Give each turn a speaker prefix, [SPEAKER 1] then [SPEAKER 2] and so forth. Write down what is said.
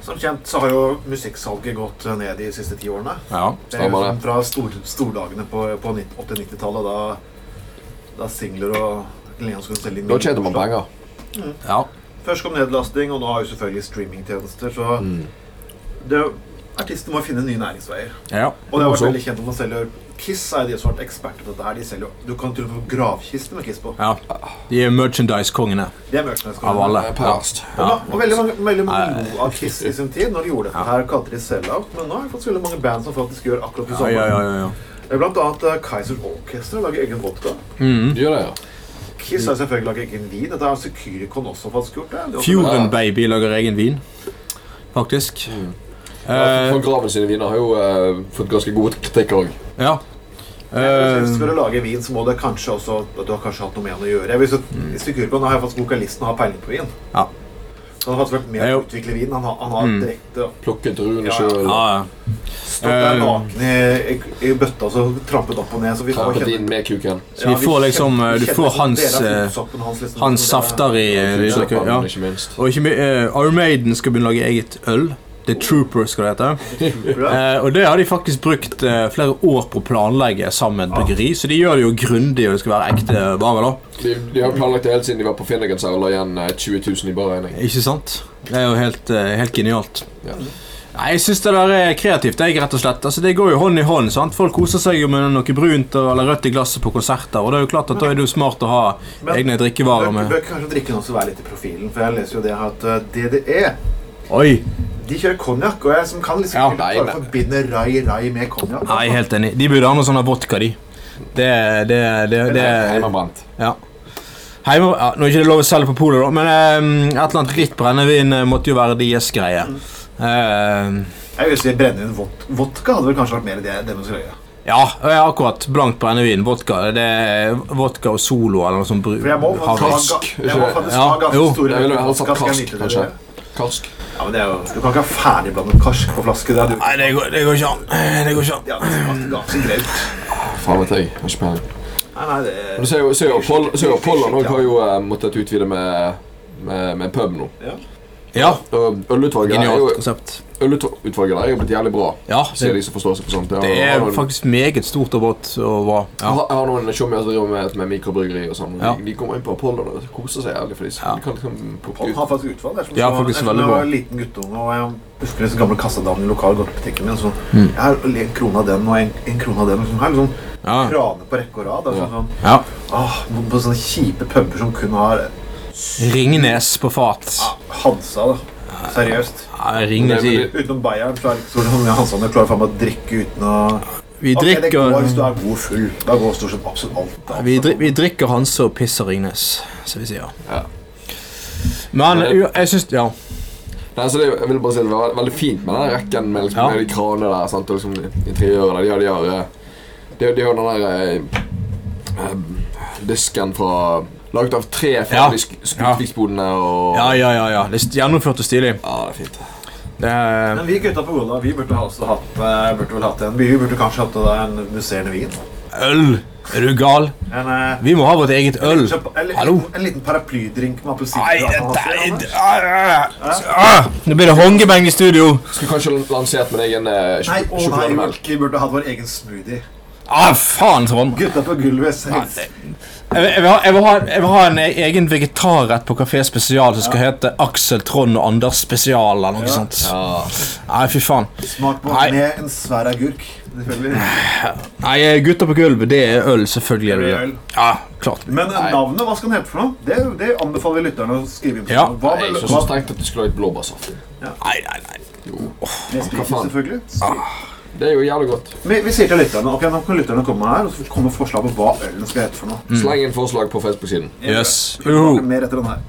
[SPEAKER 1] Som kjent så har jo musikksalget gått ned de siste ti årene.
[SPEAKER 2] Ja,
[SPEAKER 1] Det er jo sånn
[SPEAKER 2] stemmer det.
[SPEAKER 1] fra stor, stordagene på, på 90 80-90-tallet, da, da singler og lenger selge inn
[SPEAKER 3] Da tjente man penger.
[SPEAKER 2] Ja.
[SPEAKER 1] Først kom nedlasting, og nå har jo selvfølgelig streamingtjenester, så det, artister må finne nye næringsveier.
[SPEAKER 2] ja.
[SPEAKER 1] Og det har vært
[SPEAKER 2] Også.
[SPEAKER 1] veldig kjent om å selge Kiss er de som har vært eksperter på dette her. De selger jo Du kan til og med få gravkiste med Kiss på.
[SPEAKER 2] ja. De er merchandise-kongene
[SPEAKER 1] Det er merchandise.
[SPEAKER 2] av alle.
[SPEAKER 3] Eh,
[SPEAKER 2] Ja.
[SPEAKER 3] Past.
[SPEAKER 1] Og, da, og veldig mange, veldig mange
[SPEAKER 2] Nei.
[SPEAKER 1] lo av Kiss i sin tid. Når de gjorde dette her, kalte de sell-out. Men nå har vi fått så veldig mange band som faktisk gjør akkurat det
[SPEAKER 2] Ja,
[SPEAKER 1] samme.
[SPEAKER 2] ja, ja, ja, ja.
[SPEAKER 1] Det er Blant annet eh, Kaizers Orchestra lager egen vodka. Mm.
[SPEAKER 3] Gjør det, ja.
[SPEAKER 1] Kiss har selvfølgelig laget egen vin. Dette har Securicon også faktisk gjort. Det. Det er også-
[SPEAKER 2] Fjorden Baby lager egen vin, faktisk.
[SPEAKER 3] Ja,
[SPEAKER 2] Eh,
[SPEAKER 3] for Graven sine viner har jo eh, fått ganske god kritikk òg.
[SPEAKER 2] ja.
[SPEAKER 1] Jeg synes,
[SPEAKER 2] Eh,
[SPEAKER 1] Skal du lage vin, så må det kanskje også at Du har kanskje hatt noe med han å gjøre. Jeg vil så- Securicon har jo faktisk vokalisten og har peiling på vin.
[SPEAKER 2] Mm. Ja.
[SPEAKER 1] Så Han har faktisk vært med
[SPEAKER 2] Det er
[SPEAKER 1] å
[SPEAKER 2] jo- Mm.
[SPEAKER 1] utvikle vin. Han har, han har direkte
[SPEAKER 3] Plukket druene
[SPEAKER 1] Ja,
[SPEAKER 3] sjøl.
[SPEAKER 2] ja, ja.
[SPEAKER 1] stått der
[SPEAKER 2] Eh.
[SPEAKER 1] naken i, i, i bøtta og så trampet opp og ned. Så vi får
[SPEAKER 3] Trampet
[SPEAKER 1] kjenne-
[SPEAKER 3] eh, inn med kuken.
[SPEAKER 2] Så vi får liksom, eh, du får hans, eh,
[SPEAKER 1] liksom,
[SPEAKER 2] Hans safter i eh, de drikker-
[SPEAKER 3] Kuksøperen,
[SPEAKER 2] ja.
[SPEAKER 3] ikke minst.
[SPEAKER 2] Og ikke mye uh, Armaden skal begynne å lage eget øl. The Trooper skal det hete. Eh, og det har de faktisk brukt eh, flere år på å planlegge sammen med et bryggeri, så de gjør det jo grundig, og det skal være ekte varer, da.
[SPEAKER 3] De, de har planlagt det helt siden de var på Finnegans og la igjen eh, 20 000 i bar regning.
[SPEAKER 2] Ikke sant? Det er jo helt, eh, helt genialt.
[SPEAKER 3] Ja.
[SPEAKER 2] Nei, Jeg syns det der er kreativt, jeg, rett og slett. Altså, Det går jo hånd i hånd. sant? Folk koser seg jo med noe brunt og- eller rødt i glasset på konserter, og det er jo klart at da er det jo smart å ha
[SPEAKER 1] Men-
[SPEAKER 2] egne drikkevarer
[SPEAKER 1] Bør,
[SPEAKER 2] med
[SPEAKER 1] bør kanskje drikken også være litt i profilen, for jeg leser jo det her at eh, DDE
[SPEAKER 2] Oi!
[SPEAKER 1] De kjører konjakk, og jeg som kan liksom
[SPEAKER 2] Ja,
[SPEAKER 1] ikke
[SPEAKER 3] nei,
[SPEAKER 1] klare
[SPEAKER 3] nei.
[SPEAKER 1] å forbinde rai rai med konjakk.
[SPEAKER 2] Nei, helt enig. De burde ha noe sånn av vodka, de. Det, det, det, det,
[SPEAKER 3] Hjemmebrent.
[SPEAKER 2] Ja. Heime, ja, nå er ikke det lov å selge på polet, da, men eh, et eller annet ritt brennevin eh, måtte jo være deres greie.
[SPEAKER 1] Mm.
[SPEAKER 2] Eh,
[SPEAKER 1] Jeg vil si brennevin vod vodka hadde vel kanskje vært mer det, det man skulle gjøre.
[SPEAKER 2] ja, ja, akkurat. Blankt brennevin, vodka. Det er vodka og Solo eller noe sånt. bru-
[SPEAKER 1] For jeg må faktisk ha,
[SPEAKER 2] havre.
[SPEAKER 1] ga
[SPEAKER 3] Karsk,
[SPEAKER 1] jeg må
[SPEAKER 3] ikke-
[SPEAKER 1] faktisk
[SPEAKER 2] ja,
[SPEAKER 1] ha ganske
[SPEAKER 2] jo.
[SPEAKER 1] store
[SPEAKER 3] Jeg ville heller
[SPEAKER 1] vodka,
[SPEAKER 3] satt
[SPEAKER 1] skal jeg
[SPEAKER 3] karsk,
[SPEAKER 1] nyte det.
[SPEAKER 3] kanskje. Karsk.
[SPEAKER 1] Ja, men det er jo, Du kan ikke ha ferdigblandet karsk på flaske. Det er du
[SPEAKER 2] Nei, det går, det går ikke an. Eh, Det går ikke an.
[SPEAKER 1] ja, det smakte ganske grelt.
[SPEAKER 3] Faen vet jeg. jeg. Har ikke peiling.
[SPEAKER 1] Nei, nei, det
[SPEAKER 3] Men du ser jo- ser jo Pol- ser jo Pollen òg har jo eh, måttet utvide med, med, med pub nå.
[SPEAKER 1] ja.
[SPEAKER 2] Ja,
[SPEAKER 3] Og Ølutvalget er jo,
[SPEAKER 2] genialt konsept.
[SPEAKER 3] ølutvalget der er jo blitt jævlig bra.
[SPEAKER 2] Ja,
[SPEAKER 3] Ser de
[SPEAKER 2] det,
[SPEAKER 3] som forstår seg på sånt. Jeg har-
[SPEAKER 2] det er
[SPEAKER 3] har noen-
[SPEAKER 2] faktisk meget stort og godt og bra.
[SPEAKER 3] Jeg
[SPEAKER 2] Ja.
[SPEAKER 3] har- jeg har noen tjommier som driver med, med mikrobryggeri og sånn.
[SPEAKER 2] Ja.
[SPEAKER 3] De, de kommer inn på Apollo og koser seg jævlig. For de,
[SPEAKER 2] Ja.
[SPEAKER 3] de kan liksom plukke
[SPEAKER 1] Han har
[SPEAKER 3] ut
[SPEAKER 1] faktisk utvalg. Det er som
[SPEAKER 2] Ja,
[SPEAKER 1] så-
[SPEAKER 2] faktisk
[SPEAKER 1] det er som da
[SPEAKER 2] veldig
[SPEAKER 1] Jeg var
[SPEAKER 2] bra.
[SPEAKER 1] en liten guttunge, og jeg husker den gamle kassadamen i lokal godtebutikken min. Så
[SPEAKER 2] Mm.
[SPEAKER 1] jeg har en krone av den og en, en krone av den. Liksom, her, liksom,
[SPEAKER 2] Ja.
[SPEAKER 1] Kraner på rekke og rad. Det er sånn, sånn,
[SPEAKER 2] ja.
[SPEAKER 1] ah, på, på sånne kjipe puber som kun har
[SPEAKER 2] Ringnes på fat.
[SPEAKER 1] ah, Hansa. da Seriøst.
[SPEAKER 2] Ja, Ringnes i
[SPEAKER 1] Utenom Bayern så er det ikke så mange Hansa du klarer faen meg å drikke uten å
[SPEAKER 2] Vi
[SPEAKER 1] Ok, det
[SPEAKER 2] drikker
[SPEAKER 1] går hvis du er god altså. full. Da går stort sett absolutt alt.
[SPEAKER 2] Vi, dri vi drikker Hanse og pisser Ringnes, som vi sier.
[SPEAKER 3] Ja.
[SPEAKER 2] Men
[SPEAKER 3] Ja, det-
[SPEAKER 2] u- jeg syns Ja.
[SPEAKER 3] Nei, så det, er jo- jeg vil bare si det var veldig fint med den rekken med, liksom,
[SPEAKER 2] Ja.
[SPEAKER 3] med de kranene der sant, og liksom interiørene. De har, de har, eh, de har, de har den der eh, eh, disken fra Laget av tre
[SPEAKER 2] Ja.
[SPEAKER 3] ferdig sk- skutviksbodene og
[SPEAKER 2] ja, ja, ja, ja. Det er st- gjennomført og stilig. Eh,
[SPEAKER 3] Ja, det er fint.
[SPEAKER 2] Det er,
[SPEAKER 1] Men vi gutta på Gola vi burde, ha også hatt, eh, burde vel hatt en Vi burde kanskje hatt eh, en musserende vin.
[SPEAKER 2] øl! Er du gal?
[SPEAKER 1] En, eh,
[SPEAKER 2] Vi må ha vårt eget øl.
[SPEAKER 1] Kjøp- en, liten-
[SPEAKER 2] Hallo?
[SPEAKER 1] En liten paraplydrink med appelsin.
[SPEAKER 2] Nei,
[SPEAKER 1] Ja,
[SPEAKER 2] dette
[SPEAKER 1] han har
[SPEAKER 2] er
[SPEAKER 1] det,
[SPEAKER 2] Ah, ah, ah. Nå blir det hongebang i studio.
[SPEAKER 3] Skulle kanskje lansert min egen eh,
[SPEAKER 1] Nei,
[SPEAKER 3] sj-
[SPEAKER 1] å nei,
[SPEAKER 3] sjokolademelk.
[SPEAKER 1] vi burde hatt vår egen smoothie.
[SPEAKER 2] Ah, faen, Trond.
[SPEAKER 1] Gutta på gulvet
[SPEAKER 2] Ja,
[SPEAKER 1] selv.
[SPEAKER 2] det- Jeg vil, jeg, vil ha, jeg, vil ha, jeg vil ha en e- egen vegetarrett på Kafé Spesial som skal hete Aksel, Trond og Anders Spesial. eller noe
[SPEAKER 1] Ja.
[SPEAKER 2] sånt.
[SPEAKER 3] Ja.
[SPEAKER 2] Nei, fy faen.
[SPEAKER 1] Smak på
[SPEAKER 2] Nei.
[SPEAKER 1] med en svær agurk. Selvfølgelig.
[SPEAKER 2] Nei, eh, Gutter på gulvet, det er øl. Selvfølgelig er det
[SPEAKER 1] Det er
[SPEAKER 2] det.
[SPEAKER 1] øl.
[SPEAKER 2] Ja, klart.
[SPEAKER 1] Men eh,
[SPEAKER 3] Nei.
[SPEAKER 1] navnet, hva skal den hete for noe? Det, det anbefaler vi lytterne å skrive inn. på.
[SPEAKER 2] Ja.
[SPEAKER 1] Hva,
[SPEAKER 3] Nei,
[SPEAKER 1] hva,
[SPEAKER 3] ikke så strengt at du skulle ha et blåbærsaft.
[SPEAKER 2] Nei, nei, nei.
[SPEAKER 1] med
[SPEAKER 3] Hva
[SPEAKER 1] spriten,
[SPEAKER 3] faen?
[SPEAKER 1] selvfølgelig.
[SPEAKER 3] Det er jo jævlig godt.
[SPEAKER 1] Vi, vi sier til lytterne ok, nå kan lytterne komme her og så kommer forslag på hva ølen skal hete for noe.
[SPEAKER 2] Mm.
[SPEAKER 3] Sleng inn forslag på Facebook-siden.
[SPEAKER 2] Yes.
[SPEAKER 1] Vi kommer
[SPEAKER 2] Uhu.
[SPEAKER 1] tilbake Mer etter den her.